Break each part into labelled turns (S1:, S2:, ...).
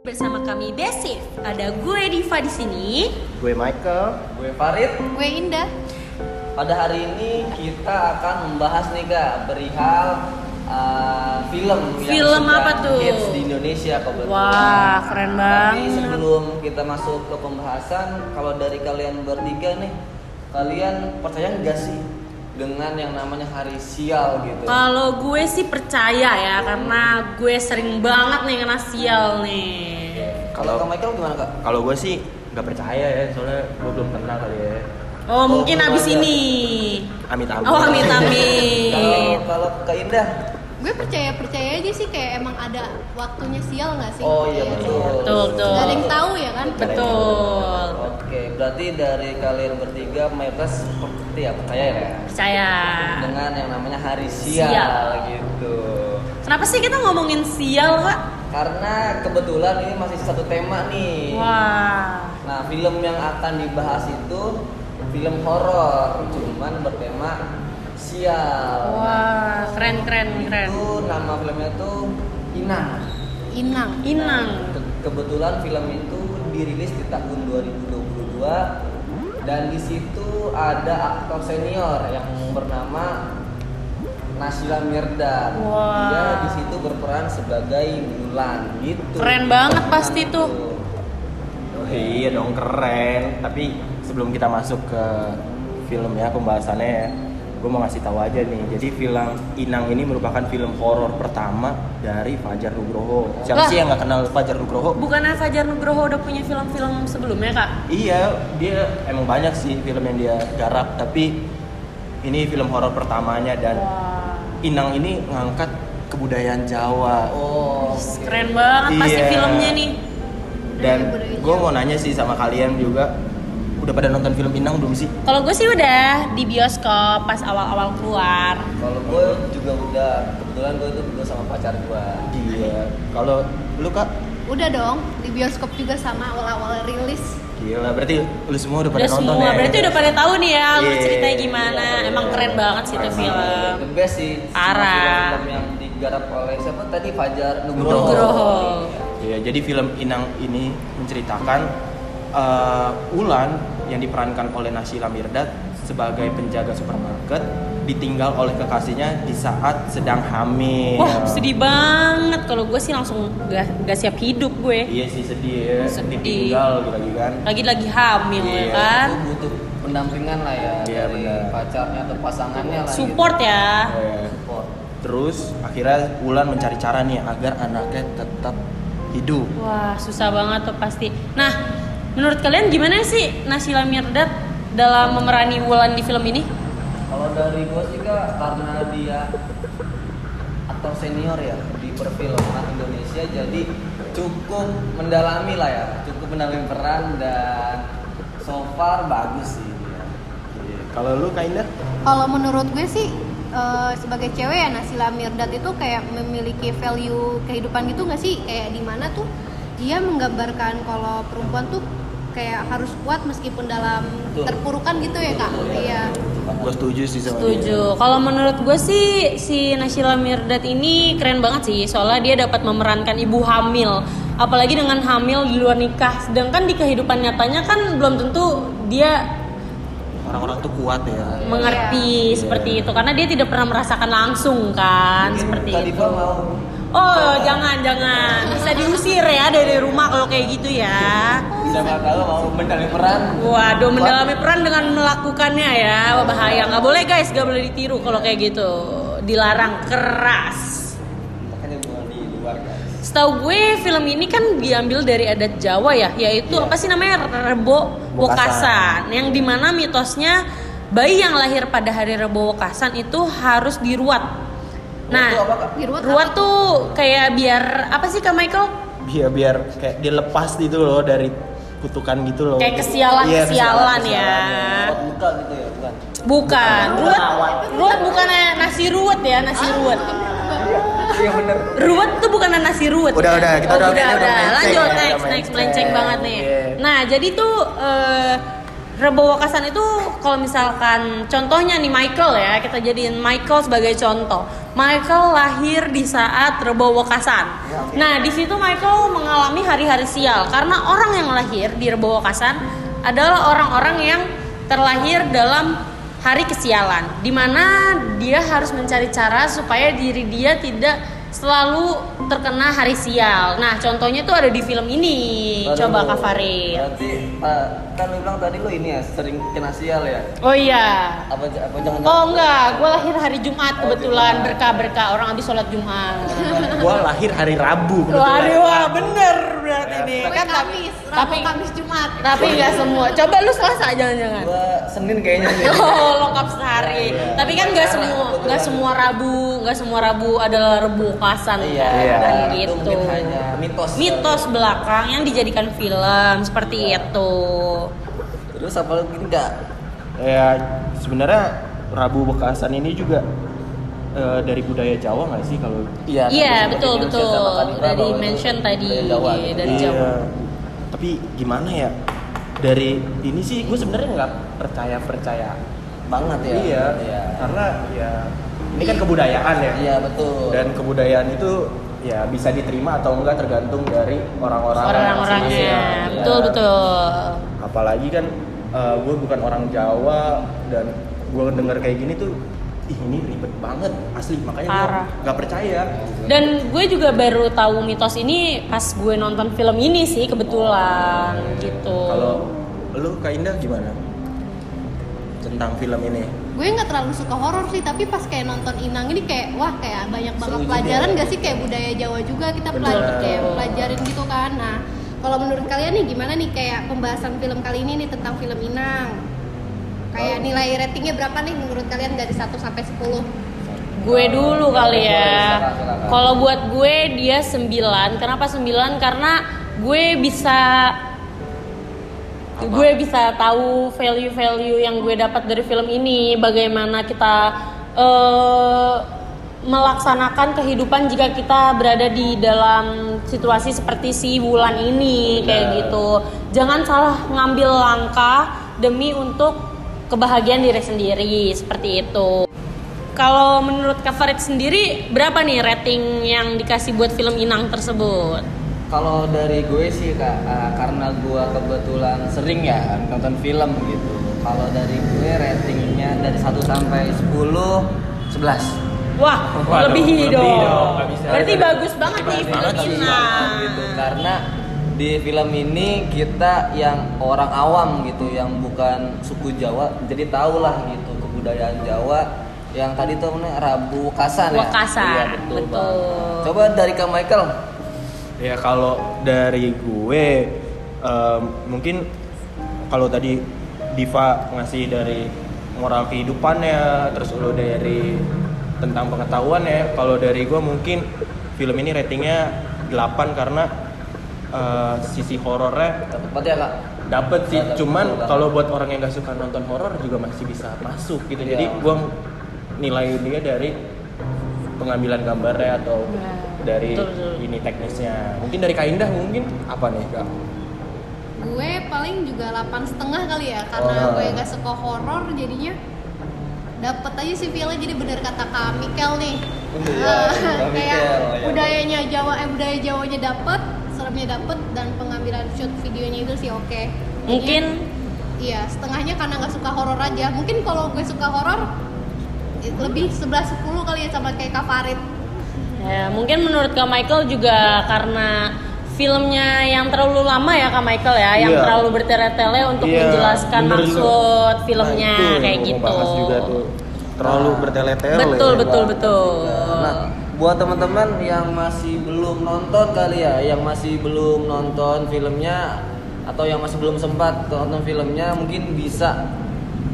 S1: bersama kami Besif. Ada gue Diva di sini.
S2: Gue Michael.
S3: Gue Farid.
S4: Gue Indah.
S3: Pada hari ini kita akan membahas nih kak perihal uh, film,
S1: Film apa tuh?
S3: hits di Indonesia kebetulan.
S1: Wah, keren
S3: Tapi
S1: banget.
S3: sebelum kita masuk ke pembahasan, kalau dari kalian bertiga nih, kalian percaya nggak sih dengan yang namanya hari sial gitu?
S1: Kalau gue sih percaya ya karena gue sering banget nih kena sial nih.
S3: Kalau Kak Michael gimana kak?
S2: Kalau gue sih nggak percaya ya, soalnya gue belum pernah kali ya.
S1: Oh, mungkin
S3: Oh,
S1: abis
S3: iya.
S1: ini.
S2: Amit amit.
S1: Oh amit
S3: Kalau
S1: amit.
S3: kalau Kak Indah?
S4: Gue percaya percaya aja sih kayak emang ada waktunya sial nggak sih?
S3: Oh iya
S4: Kayak
S3: betul.
S1: gitu. Betul, betul.
S4: Gak ada yang tahu ya kan?
S1: Betul.
S3: Oke, berarti dari kalian bertiga mayoritas seperti ya percaya ya?
S1: Percaya.
S3: dengan yang namanya hari sial,
S1: Sial.
S3: gitu.
S1: Kenapa sih kita ngomongin sial, Kak?
S3: Karena kebetulan ini masih satu tema nih.
S1: Wah.
S3: Nah, film yang akan dibahas itu film horor, cuman bertema sial. Nah,
S1: Wah, keren keren keren.
S3: Itu nama filmnya itu Inang.
S4: Inang.
S1: Inang.
S3: Nah, Ke- kebetulan film itu dirilis di tahun 2022 dan di situ ada aktor senior yang bernama Nasila Mirdad.
S1: Wah.
S3: Dia di situ berperan sebagai Mulan gitu.
S1: Keren banget pasti tuh.
S2: Oh, iya dong keren. Tapi sebelum kita masuk ke filmnya pembahasannya ya, gue mau ngasih tahu aja nih. Jadi film Inang ini merupakan film horor pertama dari Fajar Nugroho.
S1: Lah.
S2: Siapa sih yang nggak kenal Fajar Nugroho?
S1: Bukannya Fajar Nugroho udah punya film-film sebelumnya, Kak?
S2: Iya, dia emang banyak sih film yang dia garap, tapi ini film horor pertamanya dan
S1: Wah.
S2: Inang ini ngangkat kebudayaan Jawa.
S3: Oh, oke.
S1: Keren banget pasti
S2: Iya.
S1: filmnya nih.
S2: Dan
S4: Budaya
S2: gue mau nanya sih sama kalian juga, udah pada nonton film Inang belum sih?
S1: Kalau gue sih udah di bioskop pas awal-awal keluar.
S3: Kalau gue juga udah kebetulan gue itu berdua sama pacar gue.
S2: Iya. Kalau lu kak,
S4: Udah dong. Di bioskop juga sama awal-awal rilis.
S2: gila berarti lu semua udah pada
S1: Udah
S2: nonton
S1: semua,
S2: ya?
S1: berarti udah pada tahu nih ya alur
S2: Iya.
S1: ceritanya gimana. Emang keren banget sih itu
S2: Keren
S1: film.
S3: The best sih. semua
S1: Iya. Parah.
S3: Film yang digarap oleh siapa tadi Fajar Nugroho.
S1: Nugroho.
S2: Iya, jadi film Inang ini menceritakan eh, Ulan yang diperankan oleh Nasila Mirdad sebagai penjaga supermarket ditinggal oleh kekasihnya di saat sedang hamil.
S1: Wah sedih banget. Kalau gue sih langsung gak, gak siap hidup gue.
S2: Iya sih sedih ya.
S1: Sedih.
S2: Ditinggal lagi kan.
S1: Lagi-lagi hamil
S2: Iya.
S1: ya kan.
S3: Itu butuh pendampingan lah ya
S2: Iya,
S3: dari
S2: benar.
S3: pacarnya atau pasangannya lah. gitu.
S1: Support ya.
S2: Eh,
S3: Support.
S2: Terus akhirnya Ulan mencari cara nih agar anaknya tetap hidup.
S1: Wah susah banget tuh pasti. Nah menurut kalian gimana sih Nasila Mirdad dalam memerani Wulan di film ini?
S3: Kalau dari gue sih kak karena dia aktor senior ya di perfilman Indonesia jadi cukup mendalami lah ya, cukup mendalami peran dan so far bagus sih dia.
S2: Kalau lu Kainda?
S4: Kalau menurut gue sih eh, sebagai cewek ya Nasila Mirdad itu kayak memiliki value kehidupan gitu nggak sih? Kayak di mana tuh dia menggambarkan kalau perempuan tuh kayak harus kuat meskipun dalam
S3: Betul.
S4: terpurukan gitu ya kak.
S3: Betul, iya.
S4: Iya.
S2: Gue setuju sih sama dia.
S1: Setuju. Kalau menurut gue sih si Nasila Mirdad ini keren banget sih. Soalnya dia dapat memerankan ibu hamil, apalagi dengan hamil di luar nikah. Sedangkan di kehidupan nyatanya kan belum tentu dia
S2: Orang-orang tuh kuat ya.
S1: mengerti
S2: Iya.
S1: seperti itu karena dia tidak pernah merasakan langsung kan
S3: Mungkin
S1: seperti
S3: Kak
S1: itu.
S3: Diva mau
S1: Oh, jangan jangan. Bisa diusir ya dari rumah kalau kayak gitu ya.
S3: siapa tahu mau mendalami peran.
S1: Waduh, mendalami peran dengan melakukannya ya. Wah, bahaya. Nggak boleh guys, nggak boleh ditiru kalau kayak gitu. Dilarang keras.
S3: Makanya gue di luar
S2: kan.
S3: guys.
S1: Setahu gue film ini kan diambil dari adat Jawa ya, yaitu apa sih namanya Rebo
S2: Iya. Wokasan.
S1: Wokasan, yang dimana mitosnya bayi yang lahir pada hari Rebo Wokasan itu harus diruat.
S3: Itu apa
S1: Nah,
S3: kak?
S4: Diruat apa?
S1: ruat tuh kayak biar apa sih Kak Michael?
S2: biar biar kayak dia lepas gitu loh dari kutukan gitu loh
S1: Kayak kesialan-
S2: Iya,
S1: kesialan ya.
S2: kesialan.
S3: Buat muka gitu ya bukan.
S1: Bukan, ruat,
S2: Ruat.
S1: ruat bukan nasi ruwet ya, nasi ruwet.
S4: Ah.
S3: Iya bener.
S1: Ruwet tuh bukan nasi ruwet.
S2: Udah,
S1: ya?
S2: udah, kita
S1: Oh, udah,
S2: udah- kita udah
S1: udah.
S2: melenceng,
S1: Lanjut
S2: udah
S1: next, next
S2: melenceng.
S1: melenceng banget nih.
S2: Iya.
S1: Nah, jadi tuh Nah, eh, Rebo Wakasan itu kalau misalkan contohnya nih Michael ya, kita jadiin Michael sebagai contoh. Michael lahir di saat Rebo Wakasan.
S3: Ya, oke.
S1: Nah, di situ Michael mengalami hari-hari sial karena orang yang lahir di Rebo Wakasan adalah orang-orang yang terlahir dalam hari kesialan. Dimana dia harus mencari cara supaya diri dia tidak selalu terkena hari sial. Nah, contohnya itu ada di film ini.
S3: Baru
S1: Coba
S3: lu-
S1: Kak Farid.
S3: Berarti eh, kan lu bilang tadi lu ini ya sering kena sial ya.
S1: Oh iya.
S3: Apa j- apa jangan
S1: Oh enggak, gue lahir hari Jumat
S3: Oh,
S1: kebetulan
S3: Jumat.
S1: berkah-berkah orang habis sholat Jumat.
S2: ya. Gua lahir hari Rabu kebetulan.
S1: Waduh, wah bener berarti
S2: Ya,
S1: nih.
S4: Gue
S1: Kan tapi
S4: Kamis, Rabu,
S1: tapi
S4: Kamis, Jumat.
S1: tapi nggak semua. Coba lu Selasa jangan-jangan.
S3: Gua Senin kayaknya nih.
S1: Oh, lengkap sehari.
S3: Iya.
S1: Tapi kan nggak semua
S3: Kebetulan.
S1: nggak semua Rabu, nggak semua Rabu adalah Rabu pasan
S3: Iya,
S2: Iya.
S1: kan
S3: itu
S1: gitu.
S3: mungkin hanya mitos.
S1: Mitos belakang yang dijadikan film seperti itu.
S3: Terus apa lagi enggak?
S2: Ya sebenarnya Rabu Bekasan ini juga eh, dari budaya Jawa nggak sih kalau
S3: Iya,
S1: Iya,
S3: tadi
S1: betul,
S3: seperti
S1: betul.
S3: mention sama Kak
S1: Udah di-mention tadi,
S3: Dita bahwa itu budaya Jawa,
S1: iya,
S3: gitu.
S1: dari
S2: Iya.
S1: Jawa.
S2: Tapi gimana ya? Dari ini sih gue sebenarnya nggak percaya percaya.
S3: banget ya.
S2: Iya.
S3: Iya.
S2: Karena ya ini kan kebudayaan ya.
S3: Iya, betul.
S2: Dan kebudayaan itu ya bisa diterima atau enggak tergantung dari orang-orang
S1: Orang-orangnya.
S2: masing-masing. Ya.
S1: Betul, betul.
S2: Apalagi kan gue bukan orang Jawa dan gue denger kayak gini tuh Ih, ini ribet banget asli
S1: Parah. Iya.
S2: makanya gue nggak percaya.
S1: Dan gue juga baru tahu mitos ini pas gue nonton film ini sih kebetulan gitu.
S2: Kalau lu Kak Indah gimana? Tentang film ini.
S4: Gue nggak terlalu suka horor sih, tapi pas kayak nonton Inang ini kayak wah kayak banyak banget
S3: Seru juga.
S4: pelajaran gak sih kayak budaya Jawa juga kita
S2: Betul.
S4: pelajari kayak pelajarin gitu kan. Nah, kalau menurut kalian nih gimana nih kayak pembahasan film kali ini nih tentang film Inang? Kayak nilai ratingnya berapa nih menurut kalian dari 1 sampai 10?
S1: gue dulu kali ya.
S3: Silakan, silakan.
S1: Kalau buat gue dia 9. Kenapa 9? Karena gue bisa gue bisa tahu value-value yang gue dapat dari film ini, bagaimana kita eh, melaksanakan kehidupan jika kita berada di dalam situasi seperti si bulan ini kayak
S2: Benar.
S1: gitu. Jangan salah ngambil langkah demi untuk kebahagiaan diri sendiri seperti itu. Kalau menurut Kak Farid sendiri berapa nih rating yang dikasih buat film Inang tersebut?
S3: Kalau dari gue sih kak, eh, karena gue kebetulan sering ya nonton film gitu. Kalau dari gue ratingnya dari 1 sampai 10, 11.
S1: Wah,
S2: Waduh,
S1: lebih,
S2: lebih
S1: dong.
S2: dong, nggak bisa.
S1: Berarti
S2: Lebih.
S1: bagus banget nih
S3: Bagus
S1: film
S3: banget sih,
S1: Inang.
S3: gitu. Karena di film ini kita yang orang awam gitu, yang bukan suku Jawa, jadi tahulah gitu kebudayaan Jawa yang tadi tuh namanya Rabu Kasan ya.
S1: Wakasan,
S3: Iya, betul,
S1: betul.
S3: banget. Coba dari Kak Michael.
S2: Ya kalau dari gue em, mungkin kalau tadi Diva ngasih dari moral kehidupannya, terus lo dari tentang pengetahuannya. Kalau dari gue mungkin film ini ratingnya 8 karena eh, sisi horornya
S3: Dapat banget ya Kak?
S2: dapet sih
S3: Dapet,
S2: cuman
S3: betul.
S2: kalau buat orang yang nggak suka nonton horor juga masih bisa masuk gitu
S3: Iya.
S2: jadi gua nilai dia dari pengambilan gambarnya atau
S1: Nah,
S2: dari
S1: betul, betul.
S2: ini teknisnya mungkin dari Kak Indah mungkin apa nih Kak?
S4: Gue paling juga 8 setengah kali ya karena
S2: Oh.
S3: nah.
S4: gue nggak suka horor jadinya dapat aja sih feel jadi bener kata Kak Mikel nih.
S3: Iya,
S4: Eh,
S3: Kak
S4: kayak
S3: Mikel, ya.
S4: budayanya Jawa eh budaya Jawanya dapet, seremnya dapet dan pengambilan shoot videonya itu sih oke. Jadinya,
S1: Mungkin
S4: iya, setengahnya karena nggak suka horor aja. Mungkin kalau gue suka horor eh, lebih 11 10 kali ya sama kayak Kak Farid.
S1: ya, mungkin menurut Kak Michael juga karena filmnya yang terlalu lama ya Kak Michael ya, yang
S2: Iya.
S1: terlalu bertele-tele untuk
S2: Iya,
S1: menjelaskan
S2: bener juga.
S1: maksud filmnya
S2: Nah, itu yang
S1: kayak
S2: gua mau
S1: gitu.
S2: bahas juga tuh terlalu
S3: Nah.
S2: bertele-tele ya.
S1: Betul, betul,
S2: Bang.
S1: betul.
S3: Nah, buat teman-teman yang masih belum nonton kali ya, yang masih belum nonton filmnya atau yang masih belum sempat nonton filmnya, mungkin bisa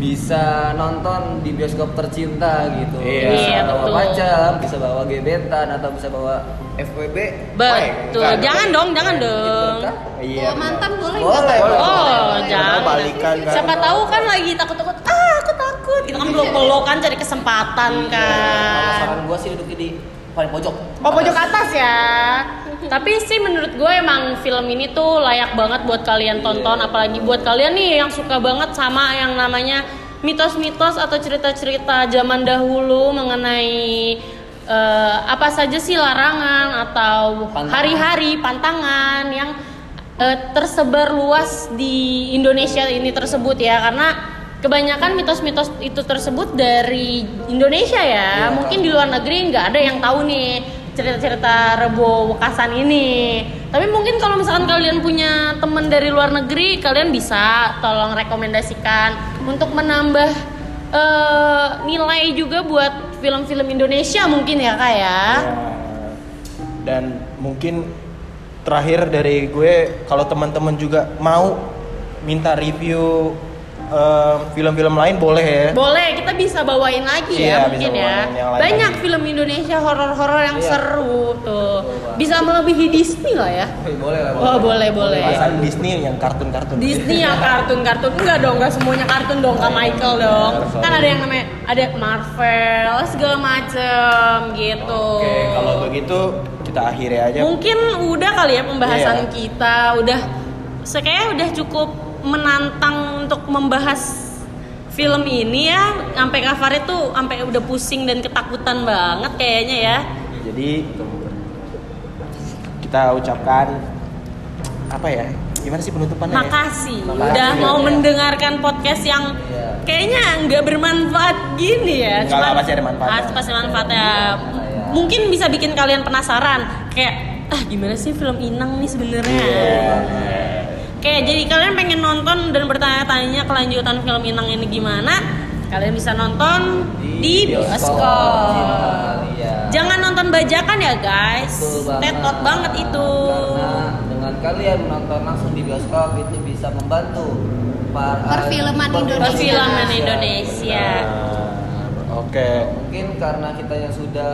S3: bisa nonton di bioskop tercinta gitu.
S2: Iya.
S3: bisa
S1: Iya,
S3: bawa
S1: betul.
S3: pacar, bisa bawa gebetan atau bisa bawa FWB.
S1: Betul.
S3: Wah,
S1: Jangan
S3: enggak, enggak.
S1: dong, jangan
S2: Nah,
S3: Gitu
S1: dong.
S3: kan.
S2: iya
S4: Bawa mantan boleh nggak,
S3: Boleh,
S4: Kak?
S3: boleh.
S1: Oh, jangan.
S2: Balikan, Kak.
S1: Siapa tahu kan lagi takut-takut, Gitu
S3: Iya,
S1: ah aku takut. Kita kan belum belok kan cari kesempatan
S3: Kalau
S1: kan.
S3: saran gua sih duduk di paling pojok
S5: Oh pojok atas ya.
S1: Tapi sih menurut gue emang film ini tuh layak banget buat kalian tonton apalagi buat kalian nih yang suka banget sama yang namanya mitos-mitos atau cerita-cerita zaman dahulu mengenai eh, apa saja sih larangan atau
S3: Pantangan.
S1: hari-hari pantangan yang eh, tersebar luas di Indonesia ini tersebut ya karena kebanyakan mitos-mitos itu tersebut dari Indonesia ya
S3: Iya.
S1: mungkin di luar negeri nggak ada yang tahu nih cerita-cerita rebo wekasan ini tapi mungkin kalau misalkan kalian punya temen dari luar negeri kalian bisa tolong rekomendasikan untuk menambah eh, nilai juga buat film-film Indonesia mungkin ya kak ya
S2: Ya. Dan mungkin terakhir dari gue kalau teman-teman juga mau minta review eh, film-film lain boleh ya.
S1: boleh kita bisa bawain lagi
S2: Iya,
S1: ya
S2: bisa
S1: mungkin ya
S2: bawain yang lain
S1: banyak
S2: lagi.
S1: film Indonesia horor-horor yang
S3: Iya.
S1: seru tuh
S3: banget.
S1: bisa melebihi Disney lah ya
S3: Wih, boleh lah
S1: oh boleh boleh
S2: Pasan Disney yang kartun-kartun.
S1: Disney yang kartun-kartun enggak dong, enggak semuanya kartun dong, Kak Michael dong.
S2: Iya,
S1: Kan ada yang namanya ada Marvel segala macem gitu.
S2: Oke, kalau begitu kita akhiri aja.
S1: Mungkin udah kali ya pembahasan
S2: Iya.
S1: kita udah sekayaknya udah cukup menantang untuk membahas film ini ya. Sampai Kak Farid tuh sampai udah pusing dan ketakutan banget kayaknya ya.
S2: Jadi kita ucapkan apa ya? Gimana sih penutupannya? ya?
S1: Makasih,
S2: Makasih,
S1: udah mau
S2: ya.
S1: mendengarkan podcast yang
S3: Iya.
S1: kayaknya nggak bermanfaat gini ya.
S2: Nggak lah, pasti ada manfaatnya.
S1: Ah, pasti ada manfaatnya. Mungkin bisa bikin kalian penasaran kayak ah gimana sih film Inang nih sebenarnya. Oke, jadi kalian pengen nonton dan bertanya-tanya kelanjutan film Inang ini gimana? Kalian bisa nonton di, bioskop.
S3: Iya.
S1: Jangan nonton bajakan ya guys.
S3: Betul
S1: Tetot banget itu.
S3: Karena dengan kalian menonton langsung di bioskop itu bisa membantu eh, para-
S4: Perfilman Indonesia.
S1: Perfilman Indonesia.
S2: Nah, Oke.
S3: Mungkin karena kita yang sudah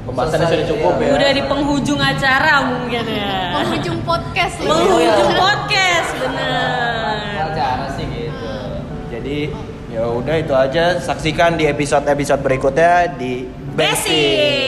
S2: Pembahasannya
S3: selesai,
S2: sudah cukup ya.
S1: Udah di penghujung acara mungkin ya.
S4: penghujung podcast loh. Iya.
S1: Penghujung podcast bener.
S3: Acara sih gitu.
S2: Jadi ya udah itu aja. Saksikan di episode-episode berikutnya di
S1: Basic.